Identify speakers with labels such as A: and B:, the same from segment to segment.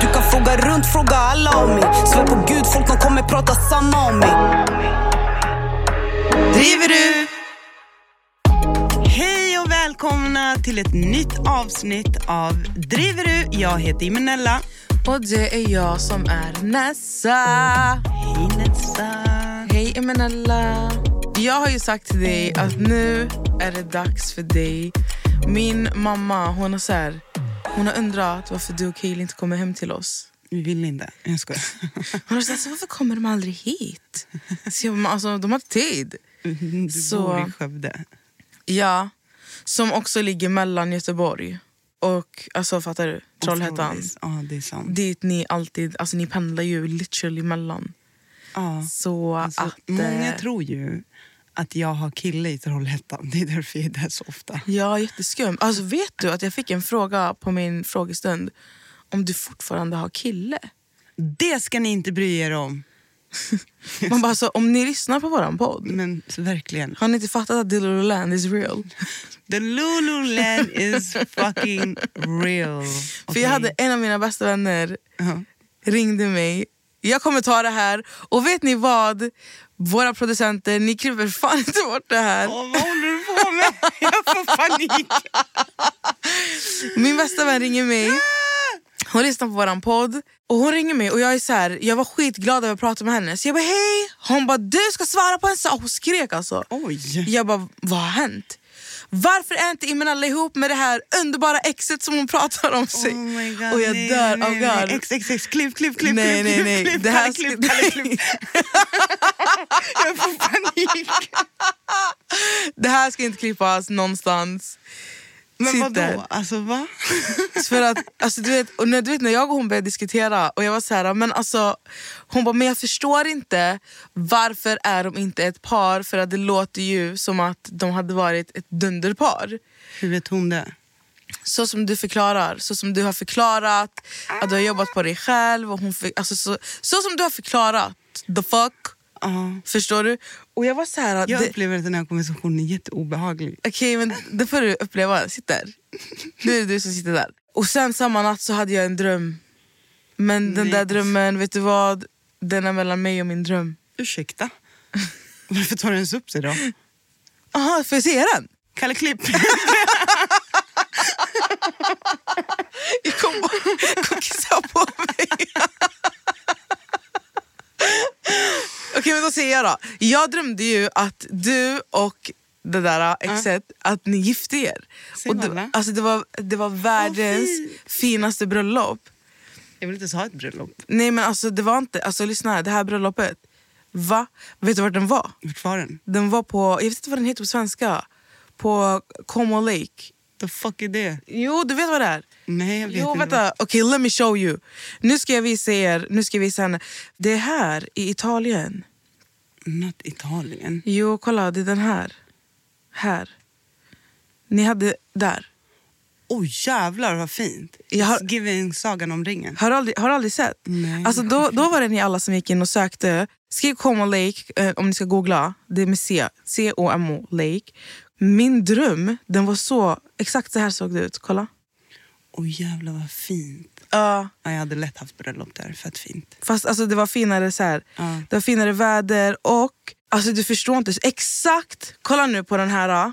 A: Du kan fråga runt, fråga alla om mig. Svär på gud, folk de kommer prata samma om mig.
B: Driver du? Hej och välkomna till ett nytt avsnitt av Driver du? Jag heter Imenella.
C: Och det är jag som är Nessa.
B: Hej Nessa.
C: Hej Emenella. Jag har ju sagt till dig att nu är det dags för dig. Min mamma hon har, så här, hon har undrat varför du och Kaeli inte kommer hem till oss.
B: Vi vill inte. Jag skojar.
C: Hon har sagt så här, varför kommer de aldrig hit? Så jag, bara, alltså, de har inte tid.
B: Mm, Du
C: Så-
B: bor i Skövde.
C: Ja, som också ligger mellan Göteborg och alltså, fattar du? Trollhättan.
B: Otroligt. Ja, det är sant.
C: Dit ni alltid, alltså ni pendlar ju literally mellan.
B: Ja.
C: Så
B: Alltså,
C: att...
B: många
C: eh,
B: tror ju att jag har kille i Trollhättan. Det är därför jag är där så ofta.
C: Ja, jätteskum. Alltså, vet du att jag fick en fråga på min frågestund om du fortfarande har kille?
B: Det ska ni inte bry er om.
C: Man bara, alltså, om ni lyssnar på våran podd,
B: Men så verkligen.
C: har ni inte fattat att Dilloland is real?
B: The Lululand is fucking real.
C: För jag hade en av mina bästa vänner
B: Ja.
C: ringde mig. Jag kommer ta det här. Och vet ni vad? Våra producenter, ni kryper fan inte bort det här.
B: Åh, vad håller du på med? Jag får panik.
C: Min bästa vän ringer mig. Hon lyssnar på våran podd och hon ringer mig och jag är så här, jag var skitglad över att prata med henne. Så jag bara hej! Hon bara du ska svara på en sak. Hon skrek alltså.
B: Oj.
C: Jag bara vad har hänt? Varför är inte Imenalla ihop med det här underbara exet som hon pratar om sig?
B: Oh my God,
C: och jag
B: nej,
C: dör
B: nej,
C: av
B: nej.
C: garv.
B: X, X, X, klipp, klipp, klipp,
C: Nej,
B: klipp,
C: nej, nej.
B: klipp, klipp,
C: Det här
B: Kalle, klipp,
C: ska-
B: Kalle, klipp. Jag får panik.
C: Det här ska inte klippas någonstans.
B: Men
C: Sitt
B: vadå?
C: där.
B: Alltså va?
C: För att, alltså, du, vet, och när, du vet när jag och hon började diskutera och jag var så här, men alltså, hon bara, men jag förstår inte varför är de inte ett par för att det låter ju som att de hade varit ett dunderpar.
B: Hur vet hon det?
C: Så som du förklarar, så som du har förklarat, att du har jobbat på dig själv och hon fick, alltså, så, så som du har förklarat, the fuck,
B: Ja.
C: förstår du? Och jag var så här,
B: Jag
C: det-
B: upplever att den här konversationen är jätteobehaglig.
C: Okej, men det får du uppleva. Sitt där. Du är du som sitter där. Och sen samma natt så hade jag en dröm. Men den
B: Nej.
C: där drömmen, vet du vad? Den är mellan mig och min dröm.
B: Ursäkta? Varför tar du ens upp det då?
C: Jaha, får jag se den?
B: Kalle Klipp.
C: Jag kom och kom och kissade på mig. Okej, men då säger jag då. Jag drömde ju att du och det där äh, exet, att ni gifte er.
B: Se
C: Och det,
B: alla.
C: alltså det, var, det var världens finaste bröllop.
B: Jag vill inte ens ha ett bröllop.
C: Nej men alltså det var inte, alltså lyssna här, det här bröllopet. Va? Vet du vart den var?
B: Vart var den?
C: Den var på, jag vet inte vad den heter på svenska. På Como Lake.
B: The fuck är det?
C: Jo du vet vad det är?
B: Nej, Mm, jag vet
C: jo
B: inte
C: vänta, okej let me show you. Nu ska jag visa er, nu ska jag visa henne. Det är här i Italien.
B: Not Italien.
C: Jo kolla, det är den här. Här. Ni hade, där.
B: oj jävlar vad fint.
C: Jag har-
B: It's giving Sagan om ringen.
C: Har du aldrig, har du aldrig sett?
B: Mm. Nej.
C: Alltså då, då var det ni alla som gick in och sökte. Skriv Como Lake eh, om ni ska googla. Det är med C. C-O-M-O Lake. Min dröm, den var så... Exakt så här såg det ut. Kolla.
B: Oj jävlar vad fint.
C: Ja,
B: Ja, jag hade lätt haft bröllop där, fett fint.
C: fast alltså, det var finare så här.
B: Ja.
C: Det var finare väder och... Alltså du förstår inte. Exakt! Kolla nu på den här. ah.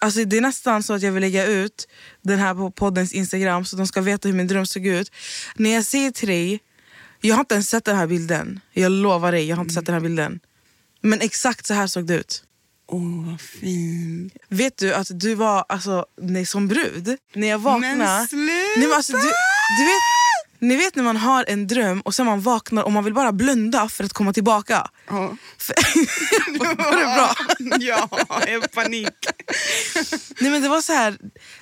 C: Alltså, det är nästan så att jag vill lägga ut den här på poddens Instagram så de ska veta hur min dröm såg ut. När jag säger till dig, jag har inte ens sett den här bilden. Jag lovar dig, jag har inte sett den här bilden. Men exakt så här såg det ut.
B: Åh vad fint.
C: Vet du att du var alltså, nej, som brud när jag vaknade?
B: Men
C: Nej,
B: sluta!
C: men alltså, du, du vet, ni vet när man har en dröm och sen man vaknar och man vill bara blunda för att komma tillbaka.
B: Ja.
C: För- var det bra?
B: ja, jag har panik.
C: Nej, men det var så här,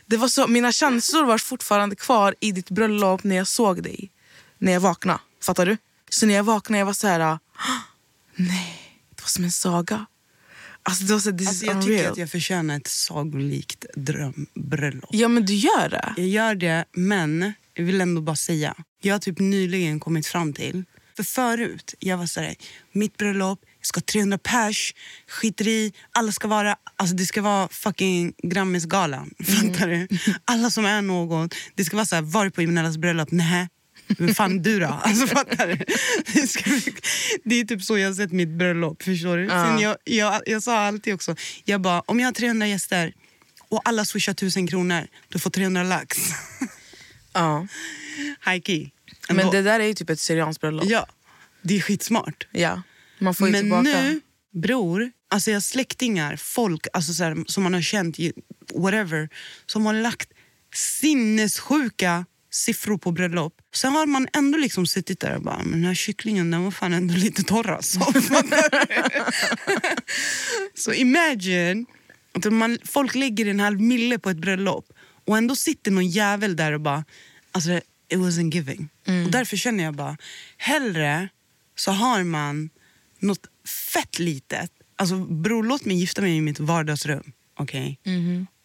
C: det var så, mina känslor var fortfarande kvar i ditt bröllop när jag såg dig. När jag vaknade. Fattar du? Så när jag vaknade jag var så här... "Ah, Nej, det var som en saga. Alltså, det var så här, this
B: Alltså,
C: is
B: jag
C: unreal.
B: tycker att jag förtjänar ett sagolikt drömbröllop.
C: Ja, men du gör det.
B: Jag gör det, men jag vill ändå bara säga. Jag har typ nyligen kommit fram till... För förut, jag var såhär, mitt bröllop, jag ska ha 300 pers, skiter i, alla ska vara... Alltså det ska vara fucking Grammisgalan, fattar du? Alla som är någon. Det ska vara såhär, var du på Imenellas bröllop? Nähä. Vem fan du då? Alltså fattar du? Det, ska, det är typ så jag har sett mitt bröllop, förstår du? Sen jag, jag, jag sa alltid också, jag bara, om jag har 300 gäster och alla swishar 1000 kronor, du får 300 lax.
C: Ja.
B: High key. Ändå.
C: Men det där är ju typ ett syrianskt bröllop.
B: Ja, det är skitsmart.
C: Ja, Man får ju
B: Men
C: tillbaka.
B: nu, bror, alltså jag har släktingar, folk alltså så här, som man har känt, i- whatever, som har lagt sinnessjuka siffror på bröllop. Sen har man ändå liksom suttit där och bara, men den här kycklingen den var fan ändå lite torr alltså. Så imagine att man, folk lägger en halv mille på ett bröllop och ändå sitter någon jävel där och bara, alltså it wasn't giving. Och därför känner jag bara, hellre så har man något fett litet. Alltså bror, låt mig gifta mig i mitt vardagsrum. Okej?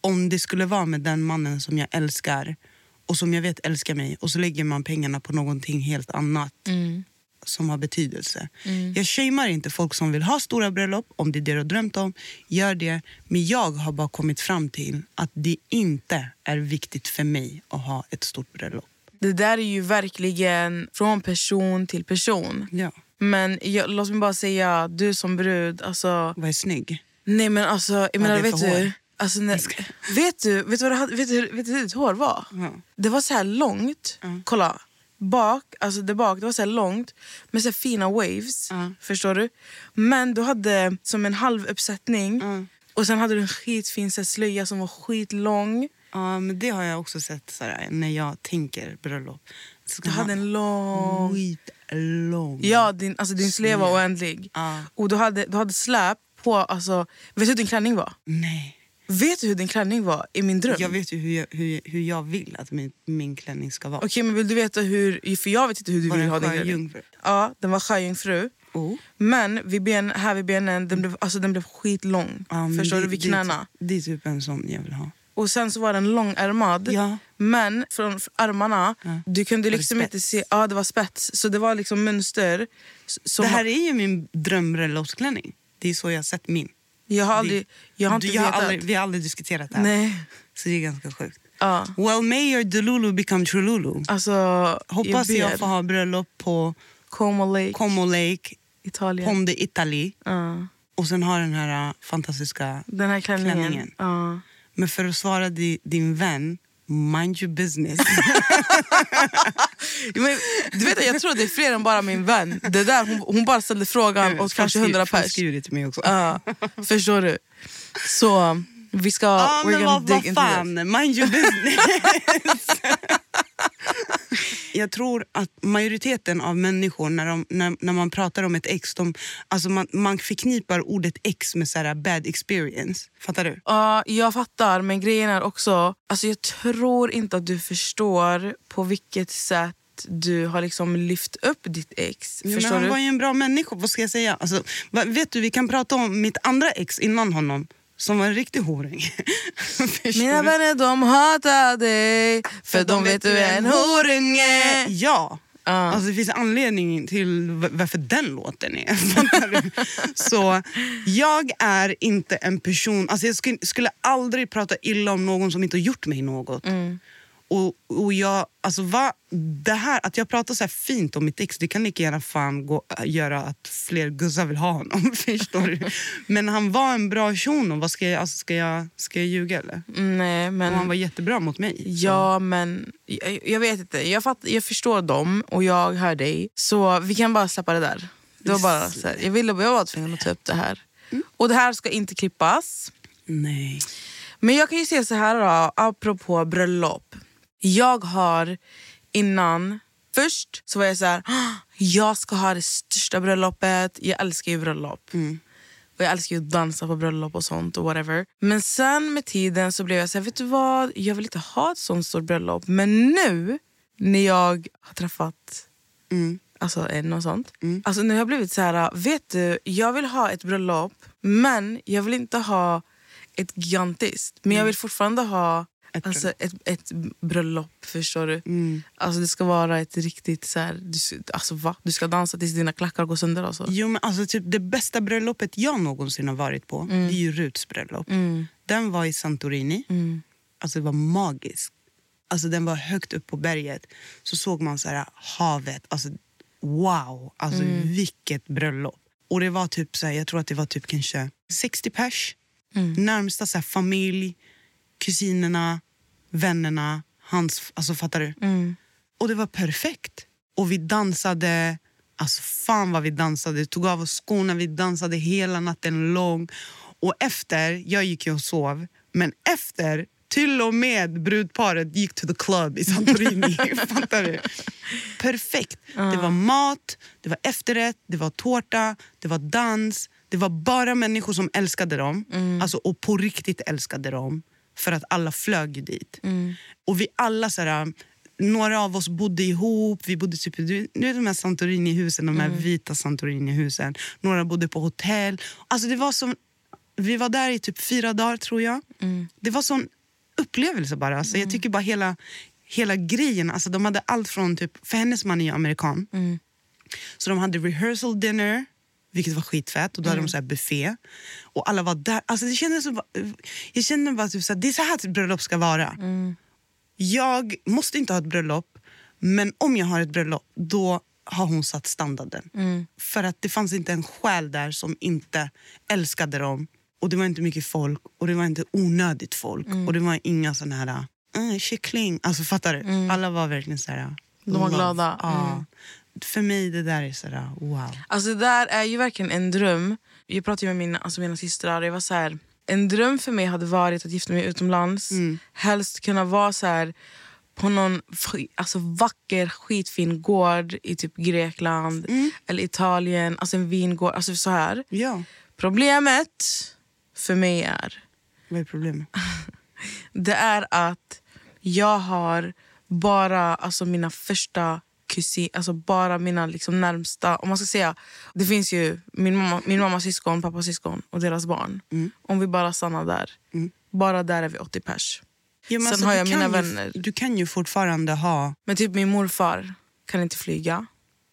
B: Om det skulle vara med den mannen som jag älskar och som jag vet älskar mig och så lägger man pengarna på någonting helt annat som har betydelse.
C: Mm.
B: Jag shamear inte folk som vill ha stora bröllop, om det är det du har drömt om, gör det. Men jag har bara kommit fram till att det inte är viktigt för mig att ha ett stort bröllop.
C: Det där är ju verkligen från person till person.
B: Ja.
C: Men jag, låt mig bara säga, du som brud, alltså...
B: Vad är snygg?
C: Nej men alltså, jag menar,
B: det är
C: vet,
B: för hår.
C: du, alltså när, vet du? Vet du vad det hade, vet du, hur- vet du hur ditt hår var? Det var så här långt, kolla. Bak, alltså det bak, det var så här långt med så här fina waves. Förstår du? Men du hade som en halv uppsättning och sen hade du en skitfin så här, slöja som var skitlång.
B: Ja, men det har jag också sett sådär, när jag tänker bröllop. Så
C: Du
B: kan
C: hade
B: man-
C: en lång...
B: skitlång.
C: Ja, din, alltså din slev var oändlig.
B: Ja.
C: Och du hade, du hade släp på... Alltså, vet du hur din klänning var?
B: Nej.
C: Vet du hur din klänning var i min dröm?
B: Jag vet ju hur jag, hur, hur jag vill att min, min klänning ska vara.
C: Okej, men vill du veta hur... För jag vet inte hur du
B: Var
C: vill
B: den
C: ha din klänning.
B: sjöjungfru?
C: Ja, den var sjöjungfru.
B: Oh.
C: Men vid ben, här vid benen, den blev, alltså, den blev skitlång.
B: Ja, men
C: Förstår
B: det-
C: du? Vid
B: det är
C: knäna.
B: typ- Det är typ en sån jag vill ha.
C: Och sen så var den långärmad.
B: Ja.
C: Men från f- armarna, du kunde
B: det
C: liksom
B: spets?
C: inte se... Ja, det var spets. Så det var liksom mönster. s- Som
B: det här är ju min drömbröllopsklänning. Det är så jag har sett min.
C: jag har
B: det-
C: aldrig... Jag har inte
B: Du, jag har
C: vetat.
B: aldrig, vi har aldrig diskuterat det här.
C: Nej.
B: Så det är ganska sjukt.
C: Ja.
B: Well may your Delulu become Trululu.
C: Alltså,
B: Hoppas jag,
C: ber.
B: får ha bröllop på
C: Como Lake,
B: Como Lake,
C: Italien.
B: Ponde Italy
C: Ja.
B: och sen ha den här äh, fantastiska...
C: Den här klänningen.
B: Klänningen.
C: Ja.
B: Men för att svara di, din vän, mind your business.
C: Men, du vet, att jag tror det är fler än bara min vän. Det där, hon, hon bara ställde frågan åt kanske hundra
B: Folk
C: pers.
B: skriver det till mig också.
C: Ja, förstår du? Så vi ska...
B: Ja,
C: we're
B: men
C: gonna
B: vad,
C: dig
B: vad
C: into
B: fan,
C: this.
B: mind your business. jag tror att majoriteten av människor när, de, när, när man pratar om ett ex, de, alltså man, man förknippar ordet ex med så här bad experience. Fattar du?
C: Ja, jag fattar, men grejen är också... Alltså jag tror inte att du förstår på vilket sätt du har liksom lyft upp ditt ex.
B: Ja, men
C: förstår
B: han
C: du?
B: var ju en bra människa, vad ska jag säga? Alltså, va- vet du, vi kan prata om mitt andra ex innan honom som var en riktig horing. Förstår
C: Mina
B: du?
C: vänner de hatar dig för de vet du är en horunge.
B: Eh, Ja.
C: Eh, Ja.
B: Alltså det finns anledning till va- varför den låten är. Fattar du? så jag är inte en person, alltså jag skulle, skulle aldrig prata illa om någon som inte har gjort mig något.
C: Mm.
B: Och, och jag, alltså va, det här, att jag pratar så här fint om mitt ex, det kan lika gärna fan gå, äh, göra att fler gussar vill ha honom. Förstår du? Men han var en bra shuno, vad ska jag, alltså ska jag, ska jag ljuga eller?
C: Mm, Nej men...
B: Och han var jättebra mot mig.
C: Ja, men jag, jag vet inte. Jag, fatt, jag förstår dem och jag hör dig. Så vi kan bara släppa det där. Det var bara så här, jag ville jag var tvungen att ta upp det här. Och det här ska inte klippas.
B: Nej.
C: Men jag kan ju säga så här då, apropå bröllop. Jag har innan, först så var jag så här, "Ah, jag ska ha det största bröllopet. Jag älskar ju bröllop. Och jag älskar ju att dansa på bröllop och sånt och whatever. Men sen med tiden så blev jag så här, vet du vad? Jag vill inte ha ett sånt stort bröllop. Men nu när jag har träffat
B: Mm.
C: Alltså en och sånt. Alltså nu har jag blivit så här, vet du, jag vill ha ett bröllop men jag vill inte ha ett gigantiskt. Men jag vill fortfarande ha ett, alltså, ett, ett bröllop, förstår du?
B: Mm.
C: Alltså det ska vara ett riktigt så här, du, ska- alltså va? Du ska dansa tills dina klackar går sönder alltså.
B: Jo, men alltså, typ, det bästa bröllopet jag någonsin har varit på det är ju Ruts bröllop. Den var i Santorini. Alltså, det var magiskt. Alltså, den var högt upp på berget. Så såg man så här, havet. Alltså, wow! Alltså, Vilket bröllop. Och det var typ så här, Jag tror att det var typ kanske 60 pers. Närmsta så här, familj, kusinerna, vännerna. Hans, alltså, fattar du? Och det var perfekt. Och vi dansade, alltså fan vad vi dansade. Vi tog av oss skorna, vi dansade hela natten lång. Och efter, jag gick ju och sov, men efter till och med brudparet gick to the club i Santorini. Fattar du? Perfekt. Det var mat, det var efterrätt, det var tårta, det var dans. Det var bara människor som älskade dem, alltså, och på riktigt älskade dem. För att alla flög ju dit. Och vi alla så här, några av oss bodde ihop. Vi bodde typ, du, nu är de här Santorini-husen, de här vita Santorini-husen. Några bodde på hotell. Alltså det var som, vi var där i typ fyra dagar tror jag. Det var sån upplevelse bara. Alltså Jag tycker bara hela, hela grejen. Alltså de hade allt från, typ, för hennes man är ju amerikan. Så de hade rehearsal dinner, vilket var skitfett. Och då hade de så här buffé. Och alla var där. Alltså det kändes som, jag kände bara typ så här, det är så här ett bröllop ska vara. Jag måste inte ha ett bröllop, men om jag har ett bröllop då har hon satt standarden.
C: Mm.
B: För att det fanns inte en själ där som inte älskade dem. Och Det var inte mycket folk och det var inte onödigt folk.
C: Mm.
B: Och Det var inga såna här äh, kyckling. Alltså, fattar du? Alla var verkligen så här...
C: Mm.
B: äh,
C: De var
B: love.
C: glada. Mm.
B: Ja. För mig det där är så här, äh, wow.
C: Alltså det där är ju verkligen en dröm. Jag pratade ju med mina, alltså mina systrar och jag var så här, en dröm för mig hade varit att gifta mig utomlands. Helst kunna vara så här på någon sk- alltså vacker skitfin gård i typ Grekland eller Italien, alltså en vingård. Alltså så här.
B: Ja,
C: Problemet för mig är,
B: vad är problemet?
C: det är att jag har bara alltså mina första kusin, alltså bara mina liksom närmsta, om man ska säga, det finns ju min, mamma, min mammas syskon, pappas syskon och deras barn.
B: Mm.
C: Om vi bara stannar där, bara där är vi 80 pers.
B: Ja, men alltså,
C: Sen har
B: du
C: jag mina
B: kan ju-
C: vänner.
B: Du kan ju fortfarande ha...
C: Men typ min morfar kan inte flyga,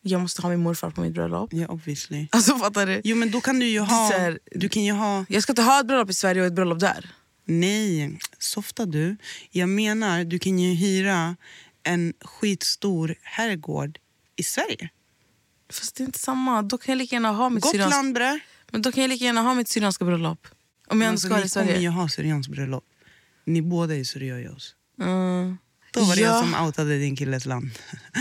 C: jag måste ha min morfar på mitt bröllop.
B: Ja, obviously.
C: Alltså fattar du?
B: Jo, men då kan du ju
C: Det är så
B: ha...
C: här-
B: Du kan ju ha...
C: Jag ska inte ha ett bröllop i Sverige och ett bröllop där.
B: Nej, softa du. Jag menar, du kan ju hyra en skitstor herrgård i Sverige.
C: Fast det är inte samma, då kan jag lika gärna ha mitt, syrianska,
B: Gotland bre.
C: men då kan jag lika gärna ha mitt syrianska bröllop. Om jag ändå
B: Alltså,
C: ska ha det i
B: ni kommer ju
C: Sverige.
B: ha syrians bröllop. Ni båda är syriojos.
C: Mm.
B: Då var det
C: Ja.
B: jag som outade din killes land.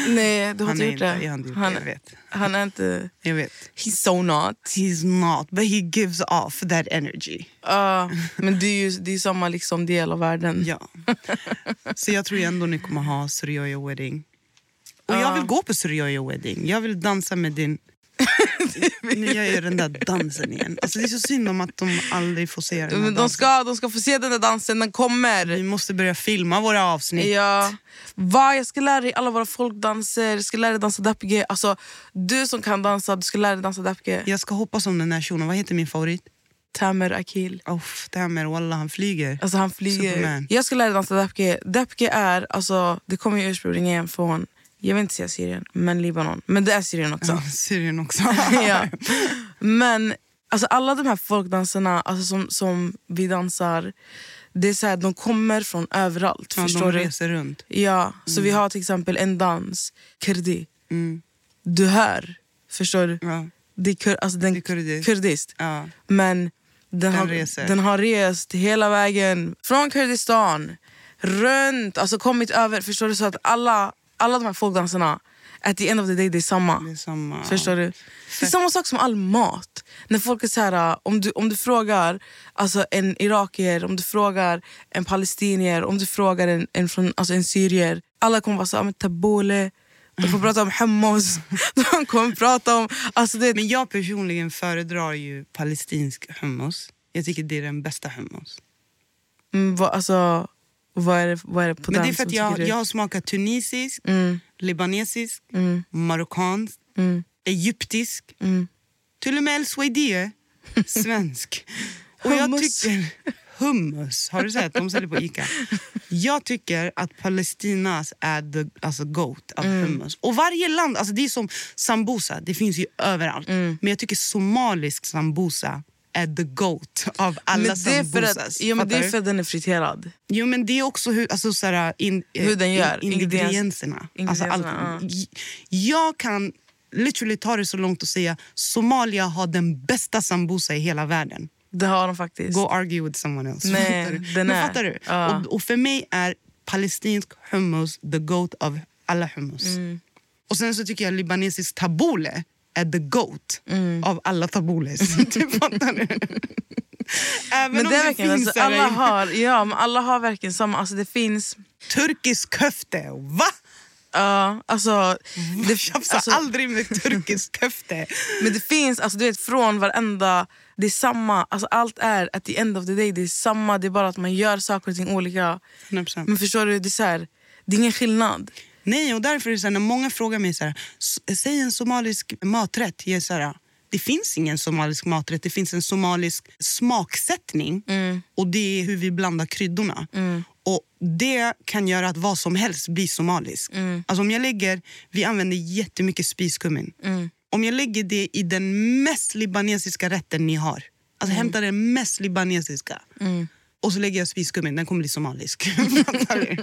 C: Nej, du har
B: Han
C: inte
B: är
C: gjort
B: inte,
C: det.
B: jag har inte gjort det,
C: han,
B: jag vet.
C: han är inte...
B: Jag vet.
C: He's so not.
B: He's not, but he gives off that energy.
C: Ja, men det är ju det är samma liksom del av världen.
B: Ja. Så jag tror ju ändå ni kommer ha Suryoyo wedding. Och jag vill gå på Suryoyo wedding. Jag vill dansa med din... nu gör jag den där dansen igen. Alltså det är så synd om att de aldrig får se den här
C: Men de,
B: dansen.
C: ska, de ska få se den där dansen, den
B: Vi
C: kommer.
B: måste börja filma våra avsnitt.
C: Ja. Va, jag ska lära dig alla våra folkdanser, jag ska lära dig dansa dappige. Alltså, du som kan dansa, du ska lära dig dansa dappige.
B: Jag ska hoppa som den här shunon. Vad heter min favorit?
C: Tamer Akil.
B: Uff, Tamer, wallah, han flyger.
C: Alltså han flyger.
B: Superman.
C: Jag ska lära dansa Dabke. Dabke är, alltså, det kommer ju ursprungligen från, jag vill inte säga Syrien, men Libanon. Men det är Syrien också.
B: Syrien också.
C: ja. Men alltså, alla de här folkdanserna alltså, som, som vi dansar, det är så här, de kommer från överallt.
B: Ja,
C: förstår
B: de
C: du?
B: reser runt.
C: Ja, så vi har till exempel en dans, kurdi.
B: Mm.
C: Du hör, förstår du?
B: Ja.
C: Det är, kur, alltså, den,
B: Det är kurdiskt.
C: kurdiskt.
B: Ja.
C: Men den, har,
B: reser.
C: den har rest hela vägen från Kurdistan, runt, alltså kommit över. Förstår du? Så att alla, alla de här folkdanserna, at the end of the day, det är samma.
B: Det är samma.
C: Förstår du? Det är samma sak som all mat. När folk är så här, äh, om, du, om du frågar alltså en irakier, om du frågar en palestinier, om du frågar en, en, från, alltså en syrier. Alla kommer vara så här, "Ah, men tabbouleh. De kommer prata om hummus. De kommer prata om... Alltså det,
B: Men jag personligen föredrar ju palestinsk hummus. Jag tycker det är den bästa hummus.
C: mm, vad, alltså, vad, är det, vad är det på
B: Men
C: den
B: det är för
C: som
B: att
C: tycker
B: jag,
C: du- Mm.
B: jag har smakat tunisisk, libanesisk, marockansk, egyptisk.
C: Mm.
B: Till och med el swedie, svensk. Och jag
C: Hummus.
B: tycker... Hummus, har du sett? De säljer på Ica. Jag tycker att Palestinas är the alltså goat av
C: Mm.
B: hummus. Och varje land, alltså det är som sambosa, det finns ju överallt.
C: Mm.
B: Men jag tycker somalisk sambosa är the goat av alla
C: men det är för att,
B: sambosas.
C: ja, men Det
B: Fattar
C: är
B: du?
C: för att den är friterad.
B: Jo men det är också hur, alltså, så här, in, eh,
C: Hur den gör,
B: in,
C: ingrediens-
B: ingredienserna. Alltså, allt.
C: ingredienserna, ja.
B: J- Jag kan literally ta det så långt och säga Somalia har den bästa sambosa i hela världen.
C: Det har de faktiskt.
B: Go argue with someone else.
C: Nej,
B: fattar du?
C: den
B: Men
C: är-
B: fattar du?
C: ja.
B: Och, och för mig är palestinsk hummus the goat av alla hummus.
C: Mm.
B: Och sen så tycker jag libanesisk taboule är the goat
C: Mm.
B: av alla taboules. Typ, fattar du? Även
C: men
B: om
C: det är
B: det,
C: verkligen,
B: finns
C: alltså,
B: så här-
C: alla, har, ja, men alla har verkligen samma. Alltså det finns...
B: turkisk köfte. Va?
C: Ja, alltså, det,
B: Tjafsa
C: alltså,
B: Mm. aldrig med turkisk köfte.
C: men det finns, alltså, du vet från varenda, det är samma, alltså, allt är at the end of the day, det är samma, det är bara att man gör saker och ting olika.
B: 100%.
C: Men förstår du, det är, så här, det är ingen skillnad.
B: Nej, och därför är det så här, när många frågar mig så här, "S- säg en somalisk maträtt. Jag är så här, det finns ingen somalisk maträtt, det finns en somalisk smaksättning och det är hur vi blandar kryddorna. Och Det kan göra att vad som helst blir somalisk. Alltså om jag lägger, vi använder jättemycket spiskummin. Om jag lägger det i den mest libanesiska rätten ni har, alltså hämta den mest libanesiska och så lägger jag spiskummin, den kommer bli somalisk. Fattar du?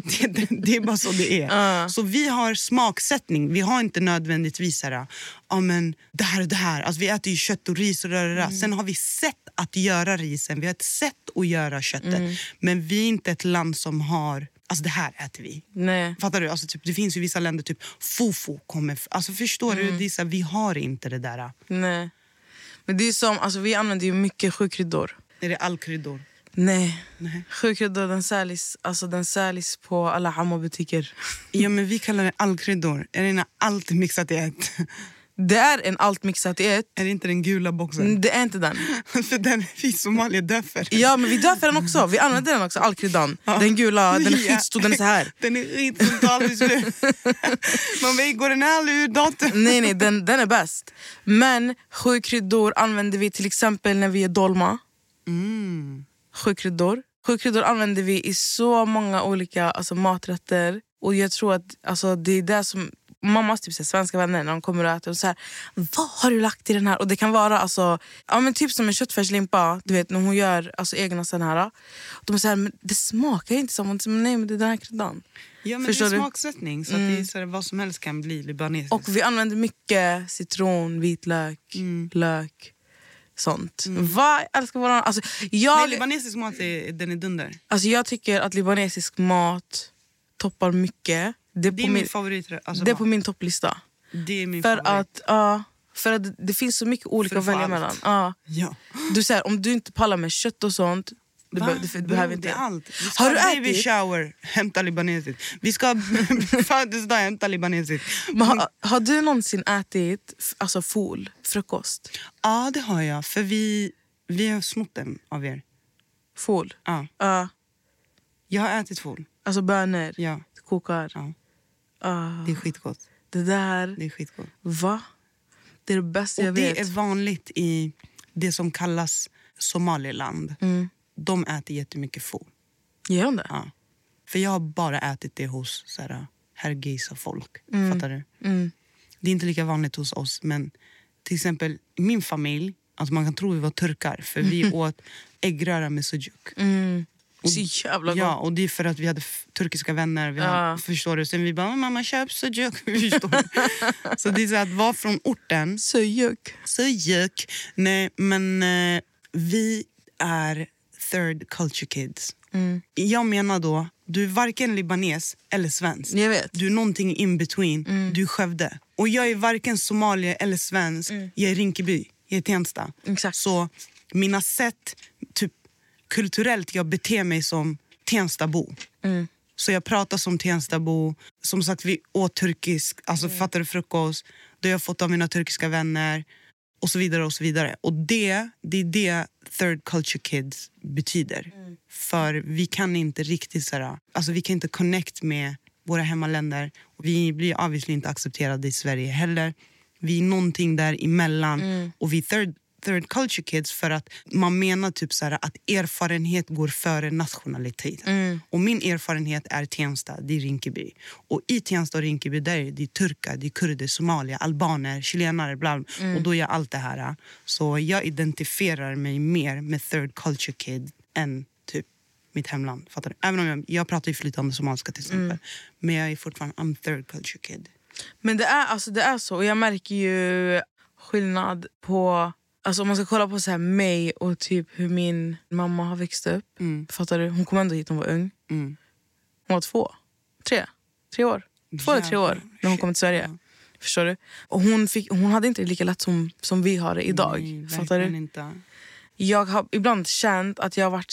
B: det, det, det är bara så det är. Så vi har smaksättning, vi har inte nödvändigtvis så här, "Ja, men det här och det här. Alltså, vi äter ju kött och ris och rör, rör. Sen har vi sätt att göra risen, vi har ett sätt att göra köttet. Men vi är inte ett land som har, alltså det här äter vi.
C: Nej.
B: Fattar du? Alltså, typ, det finns ju vissa länder, typ fofo kommer, f- alltså förstår du? Det är så här, vi har inte det där.
C: Nej. Men det är som, alltså, vi använder ju mycket sjukryddor.
B: Är det all kryddor?
C: Nej. Nej. Sjukryddor den säljs, alltså, den säljs på alla Hamma-butiker.
B: Ja, men vi kallar det allkryddor. Är det när allt är mixat i ett?
C: Det är en allt mixat i ett.
B: Är det inte den gula boxen?
C: Det är inte den.
B: för den är vi somalier dör för.
C: Mm. Ja, men vi dör för den också. Vi använder den också, all kryddan. Den gula, den är
B: Ja.
C: skitstor, den är så här.
B: Den är skitstor, tar aldrig slut. Man bara, går den här aldrig ur datorn?
C: Nej, nej, den, den är bäst. Men sju kryddor använder vi till exempel när vi gör dolma. Sju kryddor. Sju kryddor använder vi i så många olika alltså, maträtter. Och jag tror att alltså, det är det som mammas typ, så här, svenska vänner när de kommer och äter och så här, Vad har du lagt i den här? Och det kan vara alltså, ja, men typ som en köttfärslimpa, du vet när hon gör alltså, egna sådana här. De säger men det smakar ju inte som... Och så, men Nej men det är den här kryddan.
B: Ja, men
C: Förstår
B: det
C: du?
B: är smaksättning. Så att det är så här, vad som helst kan bli libanesiskt.
C: Och vi använder mycket citron, vitlök,
B: Mm.
C: lök, sånt. Va? Jag älskar våran... Alltså,
B: Nej,
C: jag,
B: libanesisk mat är, den är dunder.
C: alltså, jag tycker att libanesisk mat toppar mycket. Det är,
B: Det är
C: på,
B: min
C: min,
B: favorit. Alltså,
C: det är på min topplista.
B: det är min
C: För
B: favorit.
C: att, ja, för att det finns så mycket olika
B: För
C: att välja
B: allt.
C: mellan. Ja.
B: Ja.
C: Du, så här, om du inte pallar med kött och sånt, du,
B: Va?
C: be, du, du
B: Bro,
C: behöver
B: Det
C: inte.
B: är allt. Vi ska
C: Har du
B: ha baby
C: ätit?
B: shower, hämta libanesiskt. Vi ska ha födelsedag, hämta libanesiskt.
C: Men har, har du någonsin ätit f- alltså, fol, frukost?
B: Ja, det har jag. För vi, vi har snott den av er.
C: Fol?
B: Ja.
C: Ja.
B: Jag har ätit fol.
C: Alltså bönor,
B: Ja.
C: kokar.
B: Ja.
C: Ah,
B: Det är skitgott.
C: det där,
B: Det är skitgott.
C: va? Det är det bästa
B: Och
C: jag
B: det
C: vet.
B: är vanligt i det som kallas Somaliland,
C: Mm.
B: de äter jättemycket får.
C: Gör hon det?
B: Ja. För jag har bara ätit det hos så här, herrgeisa-folk. Fattar du? Det är inte lika vanligt hos oss, men till exempel i min familj, alltså man kan tro vi var turkar för vi åt äggröra med sujuk.
C: Så jävla gott.
B: Ja, och det är för att vi hade f- turkiska vänner. Vi
C: Ja.
B: har, förstår du? Sen vi bara, mamma köp sujuk. Vi förstår. så det är så här, att vara från orten
C: Sujuk.
B: Sujök. Nej, men eh, vi är third culture kids.
C: Mm.
B: Jag menar då, du är varken libanes eller svensk.
C: Jag vet. Mm.
B: Du är någonting in between. Du är Skövde. Och jag är varken somalier eller svensk. Jag är Rinkeby. Jag är Tensta.
C: Mm. Exakt.
B: Så mina sätt, typ kulturellt, jag beter mig som Tenstabo.
C: Mm.
B: Så jag pratar som Tenstabo. Som sagt, vi åt turkisk, alltså
C: Mm.
B: fattar du frukost. Det har jag fått av mina turkiska vänner. Och så vidare och så vidare. Och det, det är det third culture kids betyder. För vi kan inte riktigt så här, alltså vi kan inte connect med våra hemmaländer. Vi blir obviously inte accepterade i Sverige heller. Vi är någonting däremellan. Och vi är third, third culture kids för att man menar typ så här att erfarenhet går före nationalitet.
C: Mm.
B: Och min erfarenhet är Tensta, det är Rinkeby. Och i Tensta och Rinkeby där är det är turkar, det är kurder, somalier, albaner, chilenare. Bla bla.
C: Mm.
B: Och då är jag allt det här. Så jag identifierar mig mer med third culture kid än typ mitt hemland. Fattar du? Även om jag, jag pratar ju flytande somaliska till exempel.
C: Mm.
B: Men jag är fortfarande I'm third culture kid.
C: Men det är, alltså, det är så. Och jag märker ju skillnad på... Alltså, om man ska kolla på så här mig och typ hur min mamma har växt upp. Fattar du? Hon kom ändå hit, hon var ung.
B: Mm.
C: Hon var två, tre, tre år. Två eller tre år när hon kom till Sverige. Förstår du? Och hon, fick, hon hade inte det lika lätt som, som vi har det idag.
B: Nej,
C: fattar
B: verkligen
C: du?
B: Inte.
C: Jag har ibland känt att jag har varit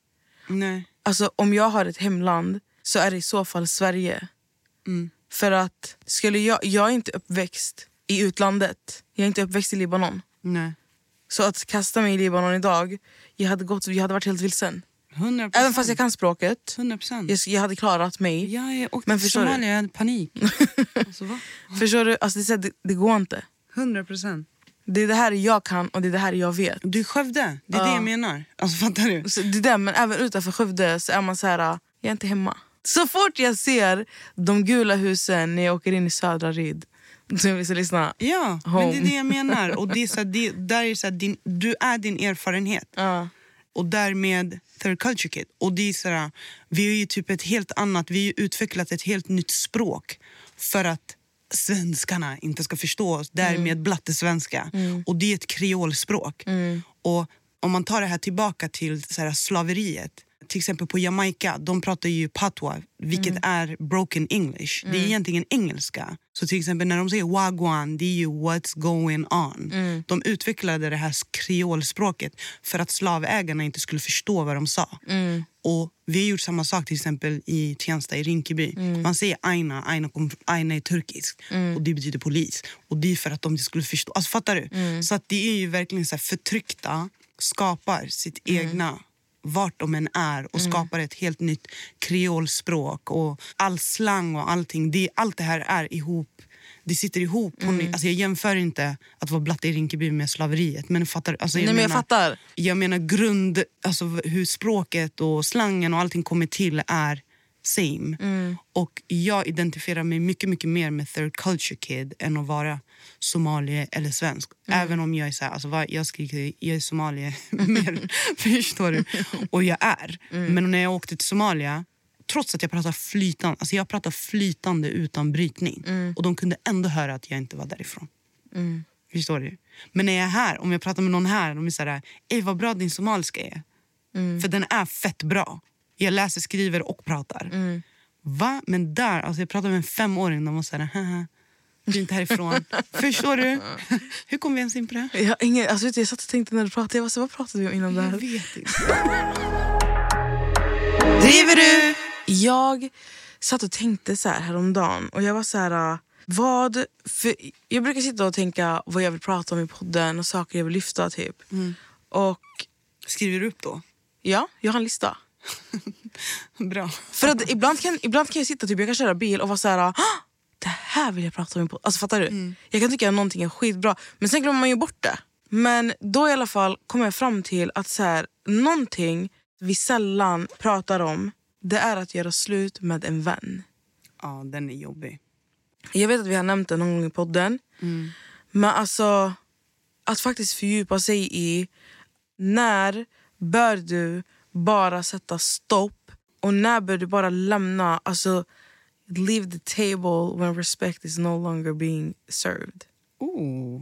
B: Nej.
C: Alltså om jag har ett hemland så är det i så fall Sverige.
B: Mm.
C: För att skulle jag, jag är inte uppväxt i utlandet. Jag är inte uppväxt i Libanon.
B: Nej.
C: Så att kasta mig i Libanon idag, jag hade, gått, jag hade varit helt vilsen.
B: 100
C: Även fast jag kan språket,
B: 100 procent.
C: jag, jag hade klarat mig.
B: Mm. Ja, jag åkte
C: Men
B: till
C: förstår du?
B: Somalia, jag hade panik. alltså, va?
C: Förstår du? Alltså, det, är så här, det, det går inte.
B: 100 procent.
C: Det är det här jag kan och det är det här jag vet.
B: Du är Skövde, det är det jag menar. Alltså, fattar du?
C: Så det där, men även utanför Skövde så är man så här, jag är inte hemma. Så fort jag ser de gula husen när jag åker in i Södra Ryd, så jag vill så lyssna.
B: Ja, men det
C: Home.
B: är det jag menar. Och det är så här, det, där är så här, din, du är din erfarenhet. Och därmed third culture kid. Och det är så här, vi har ju typ ett helt annat, vi har ju utvecklat ett helt nytt språk för att svenskarna inte ska förstå oss. Därmed blattesvenska. Och det är ett kreolspråk. Och om man tar det här tillbaka till så här, slaveriet. Till exempel på Jamaica, de pratar ju patwa, vilket är broken english. Det är egentligen engelska. Så till exempel när de säger wagwan, det är ju what's going on. De utvecklade det här kreolspråket för att slavägarna inte skulle förstå vad de sa. Och Vi har gjort samma sak till exempel i Tensta i Rinkeby. Man säger aina, aina, kom- aina är turkisk och det betyder polis. Och Det är för att de inte skulle förstå. Alltså, fattar du? Så att det är ju verkligen så här, förtryckta skapar sitt egna vart de än är och
C: Mm.
B: skapar ett helt nytt kreolspråk. Och all slang och allting. Det, allt det här är ihop. Det sitter ihop. på
C: Mm.
B: ny- Alltså jag jämför inte att vara blatte i Rinkeby med slaveriet. Men fattar, du? alltså
C: Nej, men jag fattar.
B: jag menar grund, alltså v- hur språket och slangen och allting kommer till är same. Och jag identifierar mig mycket, mycket mer med third culture kid än att vara somalier eller svensk. Även om jag är så här, alltså, vad- jag skriker jag är somalier mer, förstår du? Och jag är. Men när jag åkte till Somalia, trots att jag pratar flytande, alltså jag pratar flytande utan brytning. Och de kunde ändå höra att jag inte var därifrån. Förstår du? Men när jag är här, om jag pratar med någon här, de är så här, Ey, vad bra din somaliska är.
C: Mm.
B: För den är fett bra. Jag läser, skriver och pratar.
C: Mm.
B: Va? Men där, alltså jag pratade med en femåring, de var så här, haha, du är inte härifrån. Förstår du? Hur kom vi ens in på det?
C: Jag, har ingen, alltså, vet du, jag satt och tänkte när du pratade, jag var så, vad pratade vi om innan det här?
B: vet inte.
C: Driver du? Jag satt och tänkte så här häromdagen och jag var så här... äh, Vad, för jag brukar sitta och tänka vad jag vill prata om i podden och saker jag vill lyfta. typ. Och
B: Skriver du upp då?
C: ja, jag har en lista.
B: Bra.
C: För att ibland kan, ibland kan jag sitta typ, jag kan köra bil och vara så här... "Ah, Det här vill jag prata om. i podden." Alltså, fattar du? Jag kan tycka att någonting är skitbra, men sen glömmer man ju bort det. Men då i alla fall kommer jag fram till att så här, någonting vi sällan pratar om det är att göra slut med en vän.
B: Ja, den är jobbig.
C: Jag vet att vi har nämnt det någon gång i podden. Men alltså, att faktiskt fördjupa sig i när bör du bara sätta stopp och när bör du bara lämna? Alltså, leave the table when respect is no longer being served.
B: Oh.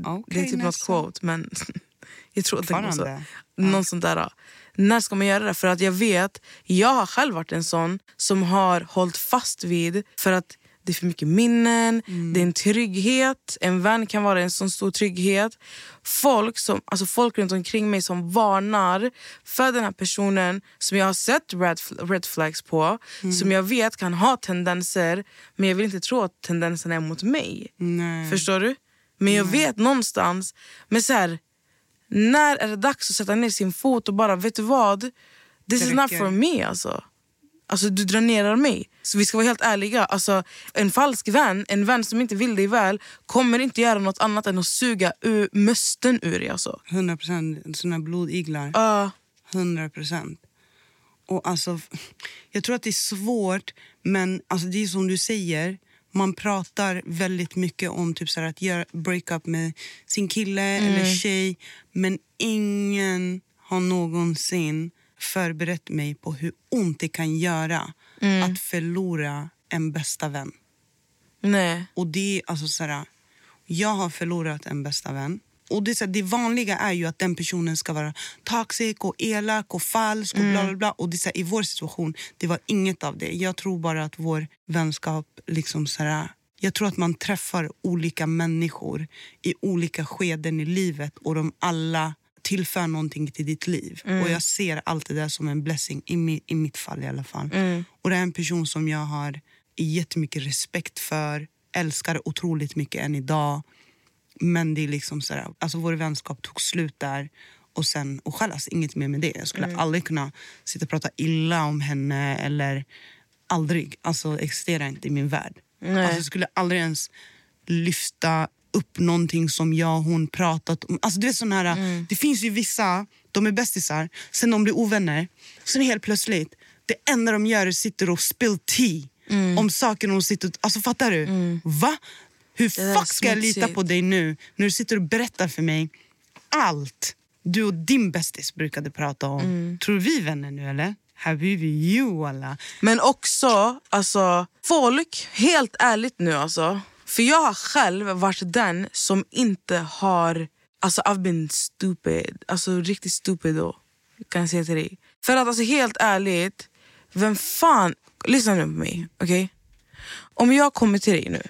B: Okay,
C: Det är typ något quote, men jag tror att det är så.
B: Fortfarande?
C: Någon sån där. ja. När ska man göra det? För att jag vet, jag har själv varit en sån som har hållit fast vid för att det är för mycket minnen, det är en trygghet. En vän kan vara en sån stor trygghet. Folk, som, alltså folk runt omkring mig som varnar för den här personen som jag har sett red, fl- red flags på, som jag vet kan ha tendenser men jag vill inte tro att tendenserna är mot mig.
B: Nej.
C: Förstår du? Men
B: Mm.
C: jag vet någonstans. Men så här, när är det dags att sätta ner sin fot och bara, vet du vad? This
B: Det
C: is not
B: räcker.
C: for me alltså. Alltså du dränerar mig. Så vi ska vara helt ärliga. Alltså, en falsk vän, en vän som inte vill dig väl, kommer inte göra något annat än att suga ur, musten ur dig. Alltså. Ah,
B: 100 procent. Såna blodiglar.
C: Ja,
B: 100 procent. Och alltså, f- jag tror att det är svårt, men alltså det är som du säger. Man pratar väldigt mycket om typ så här att göra breakup med sin kille eller tjej men ingen har någonsin förberett mig på hur ont det kan göra att förlora en bästa vän.
C: nej.
B: Och det är alltså så här, jag har förlorat en bästa vän. Och det, är så här, det vanliga är ju att den personen ska vara toxic och elak och falsk och bla bla bla. Och det är så här, i vår situation, det var inget av det. Jag tror bara att vår vänskap liksom så här, jag tror att man träffar olika människor i olika skeden i livet och de alla tillför någonting till ditt liv. Och Jag ser allt det där som en blessing, i, mi, i mitt fall i alla fall. Och Det är en person som jag har jättemycket respekt för, älskar otroligt mycket än idag. Men det är liksom så här, alltså vår vänskap tog slut där och sen och skälas inget mer med det. Jag skulle aldrig kunna sitta och prata illa om henne eller aldrig. Alltså existerar inte i min värld. Alltså, jag skulle aldrig ens lyfta upp någonting som jag och hon pratat om. Alltså, du vet, sån här, Det finns ju vissa, de är bästisar, sen de blir ovänner. Sen helt plötsligt, det enda de gör är sitter och spill tea
C: Mm.
B: om saker de sitter... Alltså fattar du? Va? Hur
C: där är
B: fuck ska jag lita
C: smutsigt.
B: på dig nu när du sitter och berättar för mig allt du och din bästis brukade prata om?
C: Mm.
B: Tror vi är vänner nu eller? Habibi, you alla.
C: Men också, alltså, folk, helt ärligt nu alltså. För jag har själv varit den som inte har, alltså I've been stupid. Alltså riktigt stupid då, kan jag säga till dig. För att alltså helt ärligt, vem fan, lyssna nu på mig, okej? Om jag kommer till dig nu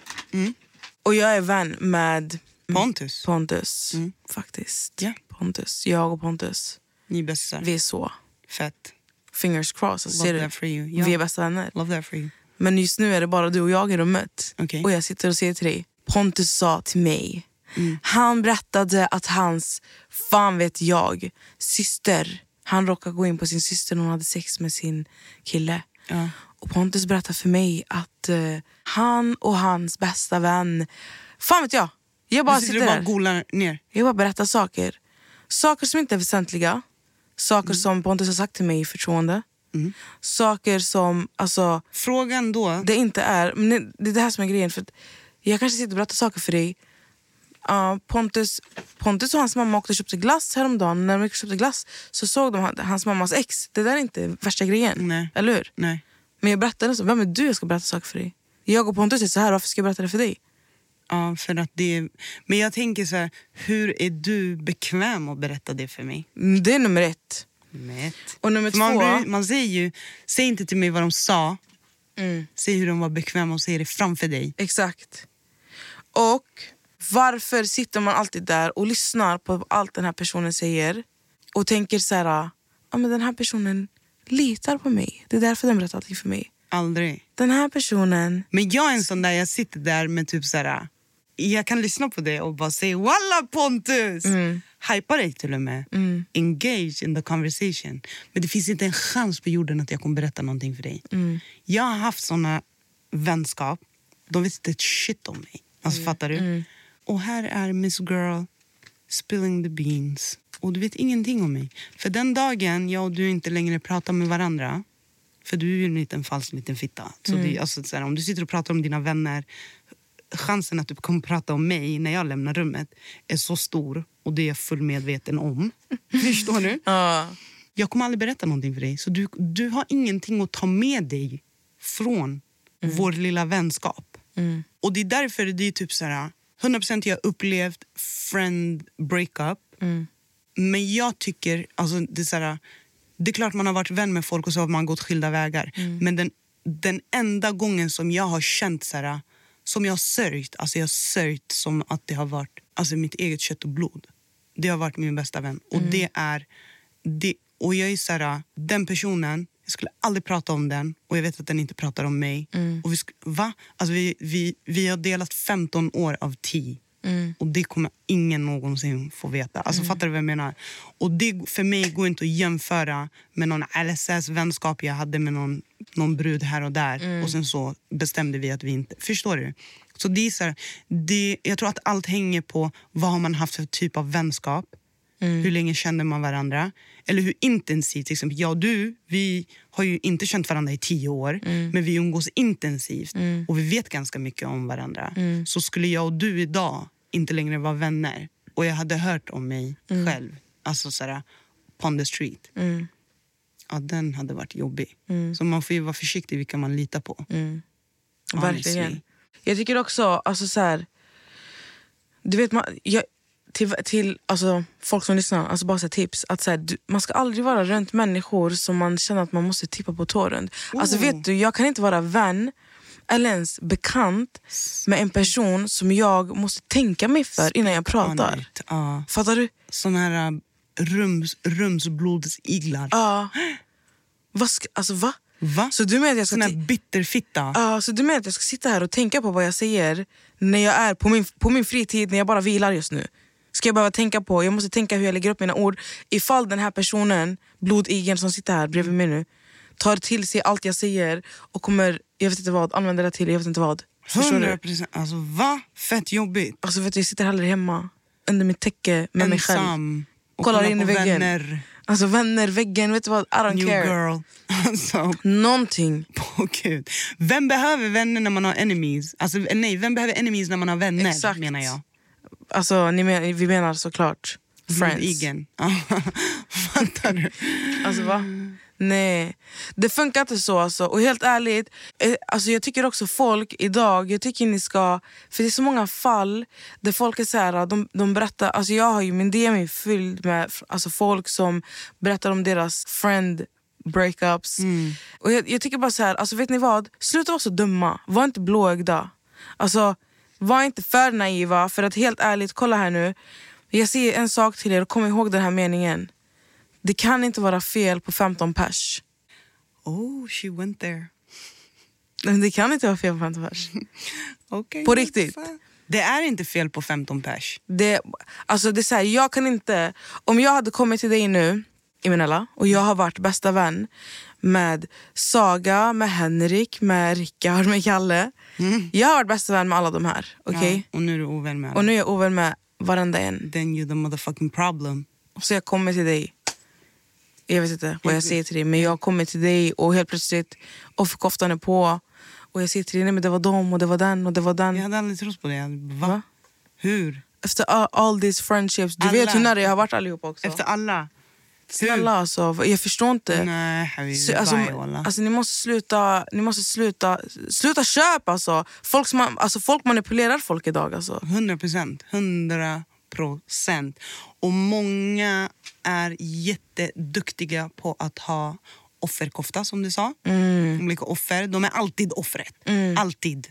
C: och jag är vän med
B: Mm. Pontus, Mm.
C: Pontus, faktiskt.
B: Ja.
C: Pontus, jag och Pontus,
B: ni är bästisar.
C: vi är så.
B: Fett.
C: Fingers crossed, alltså,
B: Love
C: ser du?
B: that for you. Ja.
C: Vi är bästa vänner.
B: Love that for you.
C: Men just nu är det bara du och jag i rummet.
B: Okej.
C: Och jag sitter och säger till dig, Pontus sa till mig,
B: Mm.
C: han berättade att hans, fan vet jag, syster, han råkade gå in på sin syster när hon hade sex med sin kille. Och Pontus berättade för mig att eh, han och hans bästa vän, fan vet jag, jag bara
B: Bara
C: sitter,
B: sitter du bara
C: där.
B: golar ner.
C: Jag bara berättar
B: Mm.
C: saker. Saker som inte är väsentliga. Saker som Pontus har sagt till mig i förtroende. Saker som alltså,
B: Frågan då,
C: det inte är... Men det- det är det här som är grejen. För att jag kanske sitter och berättar saker för dig. Ja, Pontus, Pontus och hans mamma åkte och köpte glass häromdagen. När de gick och köpte glass så såg de han- hans mammas ex. Det där är inte värsta grejen.
B: Nej.
C: Eller hur?
B: nej.
C: Men jag berättade så. Vem är du jag ska berätta saker för dig? Jag och Pontus är så här. Varför ska jag berätta det för dig?
B: Ja, för att det är... Men jag tänker så här, hur är du bekväm att berätta det för mig?
C: Mm, Det är nummer ett.
B: Nummer ett.
C: Och nummer
B: För man,
C: två-
B: blir, man säger ju, säg inte till mig vad de sa,
C: Mm.
B: säg hur de var bekväma och säg det framför dig.
C: Exakt. Och varför sitter man alltid där och lyssnar på allt den här personen säger och tänker så här, ja men den här personen litar på mig. Det är därför den berättar allting för mig.
B: Aldrig.
C: Den här personen,
B: Men jag är en sån där, jag sitter där med typ så här, jag kan lyssna på det och bara säga walla Pontus! Mm. Hypa dig till och med. Engage in the conversation. Men det finns inte en chans på jorden att jag kommer berätta någonting för dig. Jag har haft såna vänskap, de vet inte ett shit om mig. Alltså fattar du? Och här är Miss Girl spilling the beans. Och du vet ingenting om mig. För den dagen jag och du inte längre pratar med varandra, för du är ju en liten falsk liten fitta. Så det, är- alltså, så här, om du sitter och pratar om dina vänner, chansen att du kommer prata om mig när jag lämnar rummet är så stor. Och det är jag full medveten om. Förstår du?
C: ja,
B: Jag kommer aldrig berätta någonting för dig. Så du, du har ingenting att ta med dig från vår lilla vänskap. Och det är därför det är typ så här, 100% jag har upplevt friend breakup. Men jag tycker, alltså det är så här, det är klart man har varit vän med folk och så har man gått skilda vägar. Men den, den enda gången som jag har känt så här, som jag har sörjt, alltså jag har sörjt som att det har varit alltså mitt eget kött och blod. Det har varit min bästa vän. Och det är, det, och jag är så här, den personen, jag skulle aldrig prata om den och jag vet att den inte pratar om mig. Och vi, sk- va? Alltså vi, vi, vi har delat 15 år av tid. Och det kommer ingen någonsin få veta. Alltså Fattar du vad jag menar? Och det för mig går inte att jämföra med någon LSS-vänskap jag hade med någon, någon brud här och där. Och sen så bestämde vi att vi inte... Förstår du? Så det är så här, det, jag tror att allt hänger på vad har man haft för typ av vänskap.
C: Mm.
B: Hur länge kände man varandra? Eller hur intensivt? Till exempel, jag och du vi har ju inte känt varandra i tio år,
C: Mm.
B: men vi umgås intensivt och vi vet ganska mycket om varandra.
C: Mm.
B: Så skulle jag och du idag inte längre vara vänner och jag hade hört om mig
C: Mm.
B: själv, alltså såhär, on the street, ja, den hade varit jobbig.
C: Mm.
B: Så man får ju vara försiktig vilka man litar på. Honestly.
C: verkligen. Jag tycker också, alltså så här, du vet, man, jag, till, till alltså, folk som lyssnar, alltså bara så här, tips. Att så här, du, man ska aldrig vara runt människor som man känner att man måste tippa på tå runt. Alltså, vet du, jag kan inte vara vän eller ens bekant med en person som jag måste tänka mig för innan jag pratar.
B: Honest, Ja.
C: Fattar du?
B: Såna här äh, rums, rumsblodsiglar.
C: Ja. Vad ska, alltså va?
B: Va?
C: Så du menar att jag ska
B: Sån här
C: ti-
B: bitterfitta.
C: Ja, så du menar att jag ska sitta här och tänka på vad jag säger när jag är på min, på min fritid, när jag bara vilar just nu? Ska jag behöva tänka på, jag måste tänka hur jag lägger upp mina ord ifall den här personen, blodigern som sitter här bredvid mig nu, tar till sig allt jag säger och kommer, jag vet inte vad, använda det till, jag vet inte vad. Förstår du?
B: 100%. Alltså va? Fett jobbigt.
C: Alltså vet du, jag sitter hellre hemma under mitt täcke med mig själv.
B: Ensam. Och
C: Kollar
B: kolla
C: in
B: på
C: i väggen.
B: Vänner.
C: Alltså vänner, väggen, vet du vad? I don't
B: New
C: care.
B: girl. Alltså,
C: Någonting.
B: på gud. Vem behöver vänner när man har enemies? Alltså, nej, vem behöver enemies när man har vänner?
C: Exakt.
B: menar jag.
C: Alltså ni men, vi menar såklart friends.
B: Blodigern. Fattar du?
C: Alltså va? Nej, det funkar inte så. Alltså. Och helt ärligt, eh, alltså jag tycker också folk idag, jag tycker ni ska... För det är så många fall där folk är så här, de, de berättar... Alltså jag har ju min DM är fylld med f- alltså folk som berättar om deras friend breakups. Och jag, jag tycker bara så här, alltså vet ni vad? Sluta vara så dumma, var inte blåögda. Alltså, var inte för naiva, för att helt ärligt, kolla här nu. Jag säger en sak till er, kom ihåg den här meningen. Det kan inte vara fel på 15 pers.
B: Oh, she went there.
C: Men Det kan inte vara fel på 15 pers.
B: Okay,
C: På riktigt.
B: Det är inte fel på 15 pers.
C: Det, alltså det är så här, jag kan inte... Om jag hade kommit till dig nu, Imenella, och jag har varit bästa vän med Saga, med Henrik, med Rickard, med Kalle. Jag har varit bästa vän med alla de här. okej?
B: Mm. Ja, och nu är du ovän med
C: Och
B: alla.
C: nu är jag ovän med varenda en.
B: Then you're the motherfucking problem.
C: Så jag kommer till dig. Jag vet inte vad jag säger till dig, men jag kommer till dig och helt plötsligt offerkoftan är på. Och jag säger till dig, nej men det var dem och det var den och det var den.
B: Jag hade aldrig trott på det. Jag hade bara, Va? Hur?
C: Efter all, all these friendships, du
B: Alla.
C: vet hur nära jag har varit allihopa också.
B: Efter alla?
C: Snälla alltså, jag förstår inte.
B: Nej, habibi,
C: Så, alltså,
B: bye, wallah.
C: alltså, ni måste sluta, ni måste sluta, sluta köpa alltså. Folk, som, alltså. folk manipulerar folk idag alltså.
B: 100 procent. 100 procent. Och många är jätteduktiga på att ha offerkofta, som du sa.
C: Mm.
B: Olika offer. De är alltid offret. Alltid.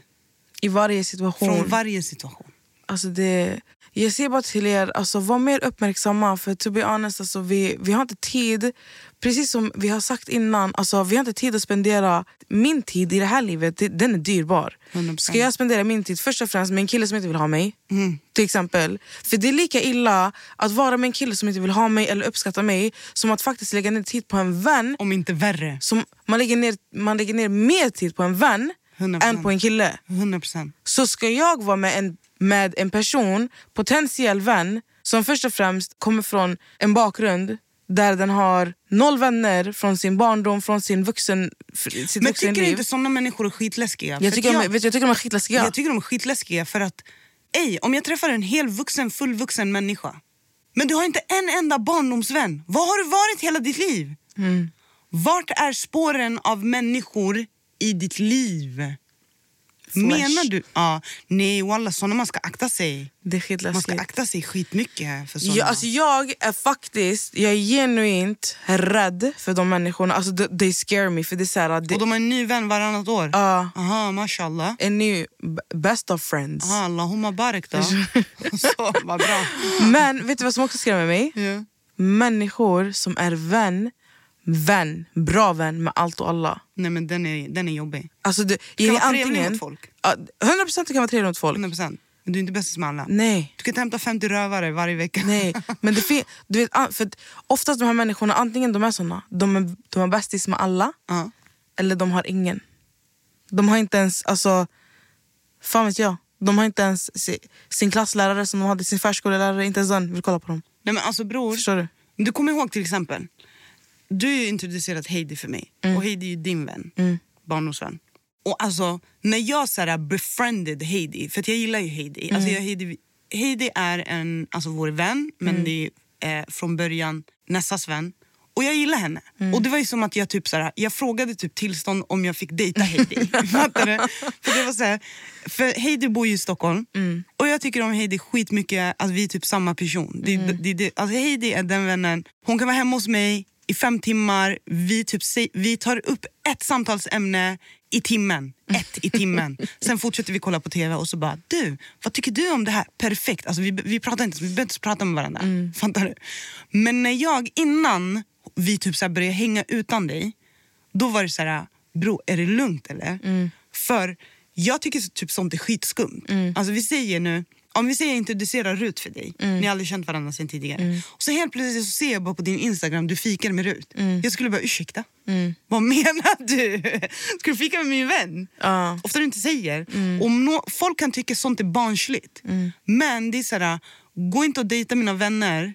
C: I varje situation.
B: Från varje situation.
C: Alltså det, jag säger bara till er, alltså var mer uppmärksamma. För to be honest, alltså vi, vi har inte tid. Precis som vi har sagt innan, alltså vi har inte tid att spendera min tid i det här livet. det- Den är dyrbar.
B: 100%.
C: Ska jag spendera min tid först och främst med en kille som inte vill ha mig? Till exempel. För det är lika illa att vara med en kille som inte vill ha mig eller uppskatta mig som att faktiskt lägga ner tid på en vän.
B: Om inte värre.
C: Som man, lägger ner, man lägger ner mer tid på en vän
B: 100%.
C: än på en kille
B: 100 procent.
C: så ska jag vara med en, med en person, potentiell vän som först och främst kommer från en bakgrund där den har noll vänner från sin barndom, från sin vuxen, f- sitt
B: Men tycker du
C: vuxenliv.
B: inte såna människor är skitläskiga? För
C: jag,
B: att
C: tycker de, vet, du, jag tycker de är skitläskiga.
B: Jag tycker de är skitläskiga för att ej, om jag träffar en hel vuxen, fullvuxen människa men du har inte en enda barndomsvän. Vad har du varit hela ditt liv?
C: Mm.
B: Vart är spåren av människor i ditt liv? Menar du? Ja, nej walla, såna man ska akta sig.
C: det är
B: Man ska
C: skitläskigt.
B: akta sig skitmycket för såna.
C: Jag, alltså jag är faktiskt jag är genuint rädd för de människorna. Alltså, de- they scare me. För det är så här, det,
B: Och de har en ny vän varannat år?
C: Ja.
B: Aha, mashallah.
C: en ny b- best of friends.
B: Aha, Allahumma barik då. Så, vad bra.
C: Men vet du vad som också skrämmer mig?
B: Ja.
C: Människor som är vän, vän, bra vän med allt och alla.
B: Nej men den är, den är jobbig.
C: Alltså det, det
B: kan
C: är
B: vara trevlig
C: antingen,
B: mot folk.
C: Ja, 100% du kan vara trevlig mot folk.
B: 100%. Men du är inte bästis med alla.
C: Nej.
B: Du kan inte hämta 50 rövare varje vecka.
C: Nej, men det fin- du vet, an- för att oftast de här människorna, antingen de är såna, de är, de är bästis med alla,
B: Ja.
C: eller de har ingen. De har inte ens, alltså, fan vet jag. De har inte ens si- sin klasslärare som de hade, sin förskollärare, inte ens den vill kolla på dem.
B: Nej men alltså bror,
C: Förstår du?
B: du kommer ihåg till exempel. Du har ju introducerat Heidi för mig. Och Heidi är ju din vän. Barndomsvän. Och alltså när jag så här, befriended Heidi, för att jag gillar ju Heidi. Alltså, jag, Heidi, Heidi är en, alltså, vår vän, men det är eh, från början Nessas vän. Och jag gillar henne. Och det var ju som att jag typ så här, jag frågade typ tillstånd om jag fick dejta Heidi. Fattar du? För, det var så här, för Heidi bor ju i Stockholm och jag tycker om Heidi skitmycket, alltså, vi är typ samma person. Det, det, det, alltså, Heidi är den vännen, hon kan vara hemma hos mig i fem timmar, vi, typ, se- vi tar upp ett samtalsämne i timmen. Ett i timmen. Sen fortsätter vi kolla på tv och så bara, du, vad tycker du om det här? Perfekt. Alltså, vi, vi pratar inte, vi behöver inte prata med varandra. Fattar du? Men när jag, innan vi typ så här började hänga utan dig, då var det så här, bro, är det lugnt eller? För jag tycker så- typ sånt är skitskumt. Alltså vi säger nu, om vi säger introducera Rut för dig, ni har aldrig känt varandra sen tidigare. Och så helt plötsligt så ser jag bara på din Instagram, du fikar med Rut. Jag skulle bara, ursäkta? Vad menar du? Ska du fika med min vän?
C: Ja.
B: Ofta du inte säger. Om nå- folk kan tycka sånt är barnsligt. Men det är så här, gå inte och dejta mina vänner.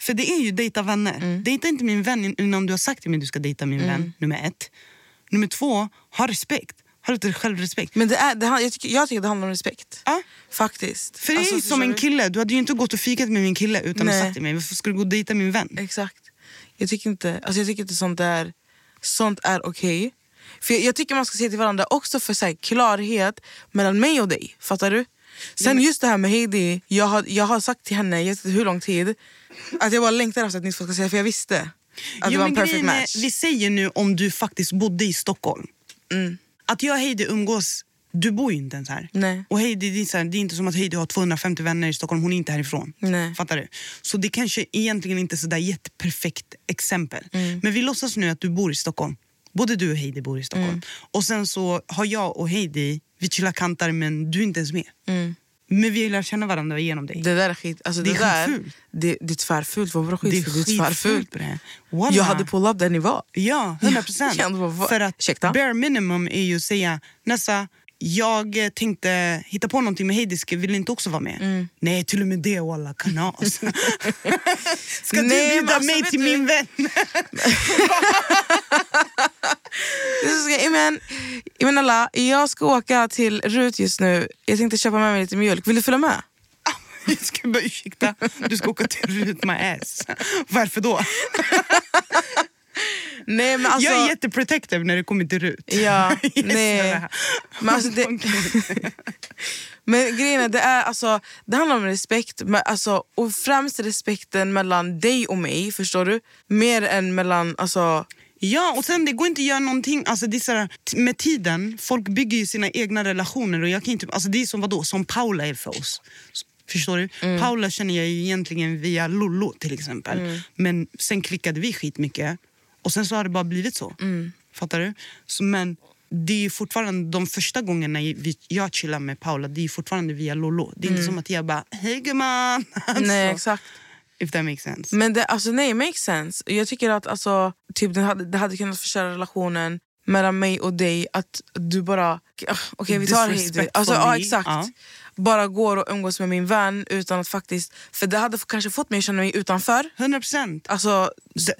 B: För det är ju dejta vänner.
C: Mm.
B: Dejta inte min vän innan du har sagt till mig att du ska dejta min vän. Nummer ett. Nummer två, ha respekt. Ha lite självrespekt.
C: Men det är, det, han- jag, tycker, jag tycker det handlar om respekt.
B: Ja.
C: Faktiskt.
B: För det är
C: Alltså,
B: ju som
C: förstår
B: en
C: du?
B: kille. Du hade ju inte gått och fikat med min kille utan att
C: Nej.
B: sagt till mig. Varför skulle du gå och dejta min vän?
C: Exakt. Jag tycker inte, alltså jag tycker inte sånt är, sånt är okej. För jag, jag tycker man ska se till varandra också för så här, klarhet mellan mig och dig. Fattar du?
B: Mm.
C: Sen just det här med Heidi, jag har, jag har sagt till henne, jag vet inte hur lång tid, att jag bara längtar efter att ni två ska säga för jag visste att det
B: Jo,
C: var
B: men
C: en perfect
B: grejen är,
C: match.
B: Vi säger nu om du faktiskt bodde i Stockholm.
C: Mm.
B: Att jag och Heidi umgås, du bor ju inte ens här.
C: Nej.
B: Och Heidi, det, är så här, det är inte som att Heidi har 250 vänner i Stockholm, hon är inte härifrån.
C: Nej.
B: Fattar du? Så det kanske egentligen inte är sådär jätteperfekt exempel.
C: Mm.
B: Men vi låtsas nu att du bor i Stockholm. Både du och Heidi bor i Stockholm.
C: Mm.
B: Och sen så har jag och Heidi, vi chillar kantar men du är inte ens med. Men vi har ju lärt känna varandra genom dig.
C: Mm. Det där är skit, alltså
B: Det
C: det,
B: är
C: där,
B: skitfult.
C: det, det är tvärfult. Vad bra skit
B: Det
C: det
B: är
C: är, det är tvärfult.
B: skitfult bre. Walla.
C: Jag hade pull up där ni var.
B: Ja, 100 procent.
C: Jag bara, vad-
B: För att
C: Ursäkta?
B: bare minimum är ju att säga Nessa, jag eh, tänkte hitta på någonting med Heidi, ska- vill ni inte också vara med?
C: Mm.
B: Nej, till och med det walla, kanas. ska du
C: Nej, men
B: bjuda
C: alltså,
B: mig
C: vet
B: till
C: du-
B: min vän?
C: Jag men, jag men alla, jag ska åka till Rut just nu. Jag tänkte köpa med mig lite mjölk. Vill du följa med?
B: Jag ska bara, ursäkta, du ska åka till Rut My Ass. Varför då?
C: Nej, men alltså,
B: jag är jätteprotective när det kommer till Rut.
C: Ja,
B: Jag är
C: nej.
B: snälla.
C: Men, alltså, det, men grejen är, det, är alltså, det handlar om respekt. Men, alltså, och främst respekten mellan dig och mig, förstår du? Mer än mellan... Alltså,
B: Ja, och sen det går inte att göra någonting. Alltså, det är så här, t- med tiden, folk bygger ju sina egna relationer. Och jag kan inte, alltså, det är som vadå, som Paula är för oss. S- Förstår du?
C: Mm.
B: Paula känner jag ju egentligen via Lollo till exempel. Men sen klickade vi skitmycket och sen så har det bara blivit så.
C: Mm.
B: Fattar du? Så, men det är ju fortfarande de första gångerna vi, jag chillar med Paula, det är ju fortfarande via Lollo. Det är inte som att jag bara, hej gumman! Alltså,
C: Mm. nej, exakt.
B: If that makes sense.
C: Men det, alltså, nej, makes sense. Jag tycker att alltså, typ, det, hade, det hade kunnat förstöra relationen mellan mig och dig. Att du bara... Okej, vi tar Heidi.
B: Disrespectful
C: Alltså, ja,
B: me.
C: exakt.
B: Ja.
C: Bara går och umgås med min vän utan att faktiskt... För det hade f- kanske fått mig att känna mig utanför.
B: 100 procent.
C: Alltså,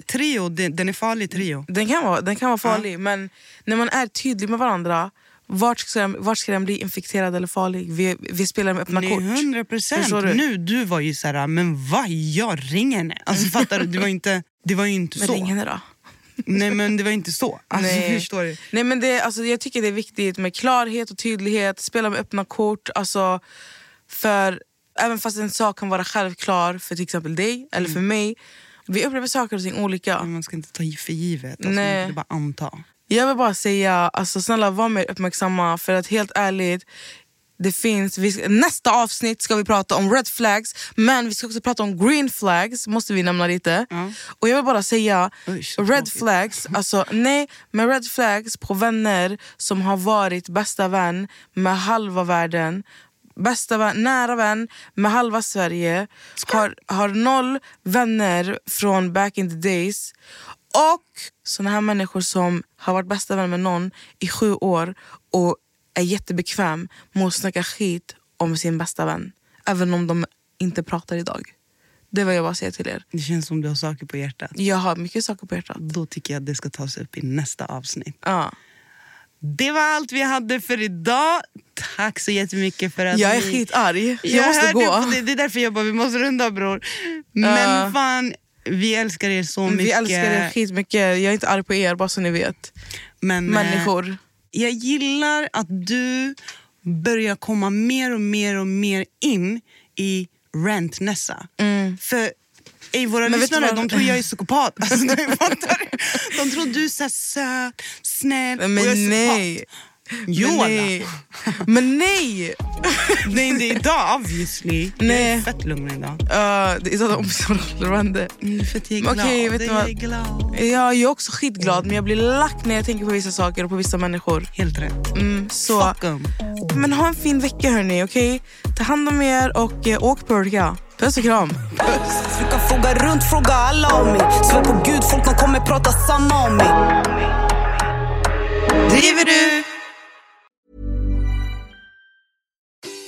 B: Trio, den, den är farlig trio.
C: den kan vara, den kan vara farlig, men när man är tydlig med varandra vart ska, den, vart ska den bli infekterad eller farlig? Vi, vi spelar med öppna
B: Nej,
C: kort.
B: 100
C: Förstår du?
B: procent. Nu, du var ju så här, men vad, jag ringer henne. Alltså, fattar du? Det var ju inte, det var ju inte
C: Men
B: så.
C: ring henne då.
B: Nej, men det var inte så. Alltså, Förstår du?
C: Nej, men det, alltså, jag tycker det är viktigt med klarhet och tydlighet, spela med öppna kort. Alltså, för Även fast en sak kan vara självklar för till exempel dig eller
B: Mm.
C: för mig. Vi upplever saker och ting olika.
B: Man ska inte ta för givet. Alltså,
C: Nej.
B: Man ska bara anta.
C: Jag vill bara säga, alltså, snälla var mer uppmärksamma. För att helt ärligt, det finns, vi, ska- nästa avsnitt ska vi prata om red flags, men vi ska också prata om green flags, måste vi nämna lite. Och jag vill bara säga,
B: Usch, så
C: red
B: tråkigt.
C: flags, alltså nej, men red flags på vänner som har varit bästa vän med halva världen, bästa vän, nära vän med halva Sverige, har, har noll vänner från back in the days. Och såna här människor som har varit bästa vän med någon i sju år och är jättebekväm med att snacka skit om sin bästa vän. Även om de inte pratar idag. Det var jag bara säga till er.
B: Det känns som du har saker på hjärtat.
C: Jag har mycket saker på hjärtat.
B: Då tycker jag att det ska tas upp i nästa avsnitt.
C: Ja.
B: Det var allt vi hade för idag. Tack så jättemycket för att
C: Jag är
B: ni...
C: skitarg. Jag, måste
B: hörde
C: gå.
B: på Det. det är därför jag bara, vi måste runda av bror. Men
C: Ja.
B: fan, vi älskar er så mycket.
C: Vi älskar er skitmycket. Jag är inte arg på er, bara så ni vet.
B: Men, eh,
C: Människor.
B: Jag gillar att du börjar komma mer och mer och mer in i rantnässa. För ej, våra
C: Mm. Men vet du
B: lyssnare
C: vad-
B: de tror jag är psykopat. Alltså, du fattar? de tror du är så här söt, snäll
C: Men
B: och jag är
C: nej.
B: psykopat. Jo,
C: Men
B: alla.
C: nej. Men nej!
B: Nej, inte idag obviously. Jag
C: Nej.
B: är fett lugn idag.
C: Uh, det är sådana omsorgsrullande.
B: Mm, för att jag är
C: Men
B: glad.
C: okej, vet du vad? Eh,
B: jag är glad.
C: Ja, jag är också skitglad, men jag blir lack när jag tänker på vissa saker och på vissa människor.
B: Helt rätt.
C: Mm, så.
B: Fuck 'em.
C: Men ha en fin vecka, hörni. okej? Ta hand om er och eh, åk pulka. Puss och kram.
A: Du kan fråga runt, fråga alla om mig. Svär på gud, folk de kommer prata samma om mig.
C: Driver du?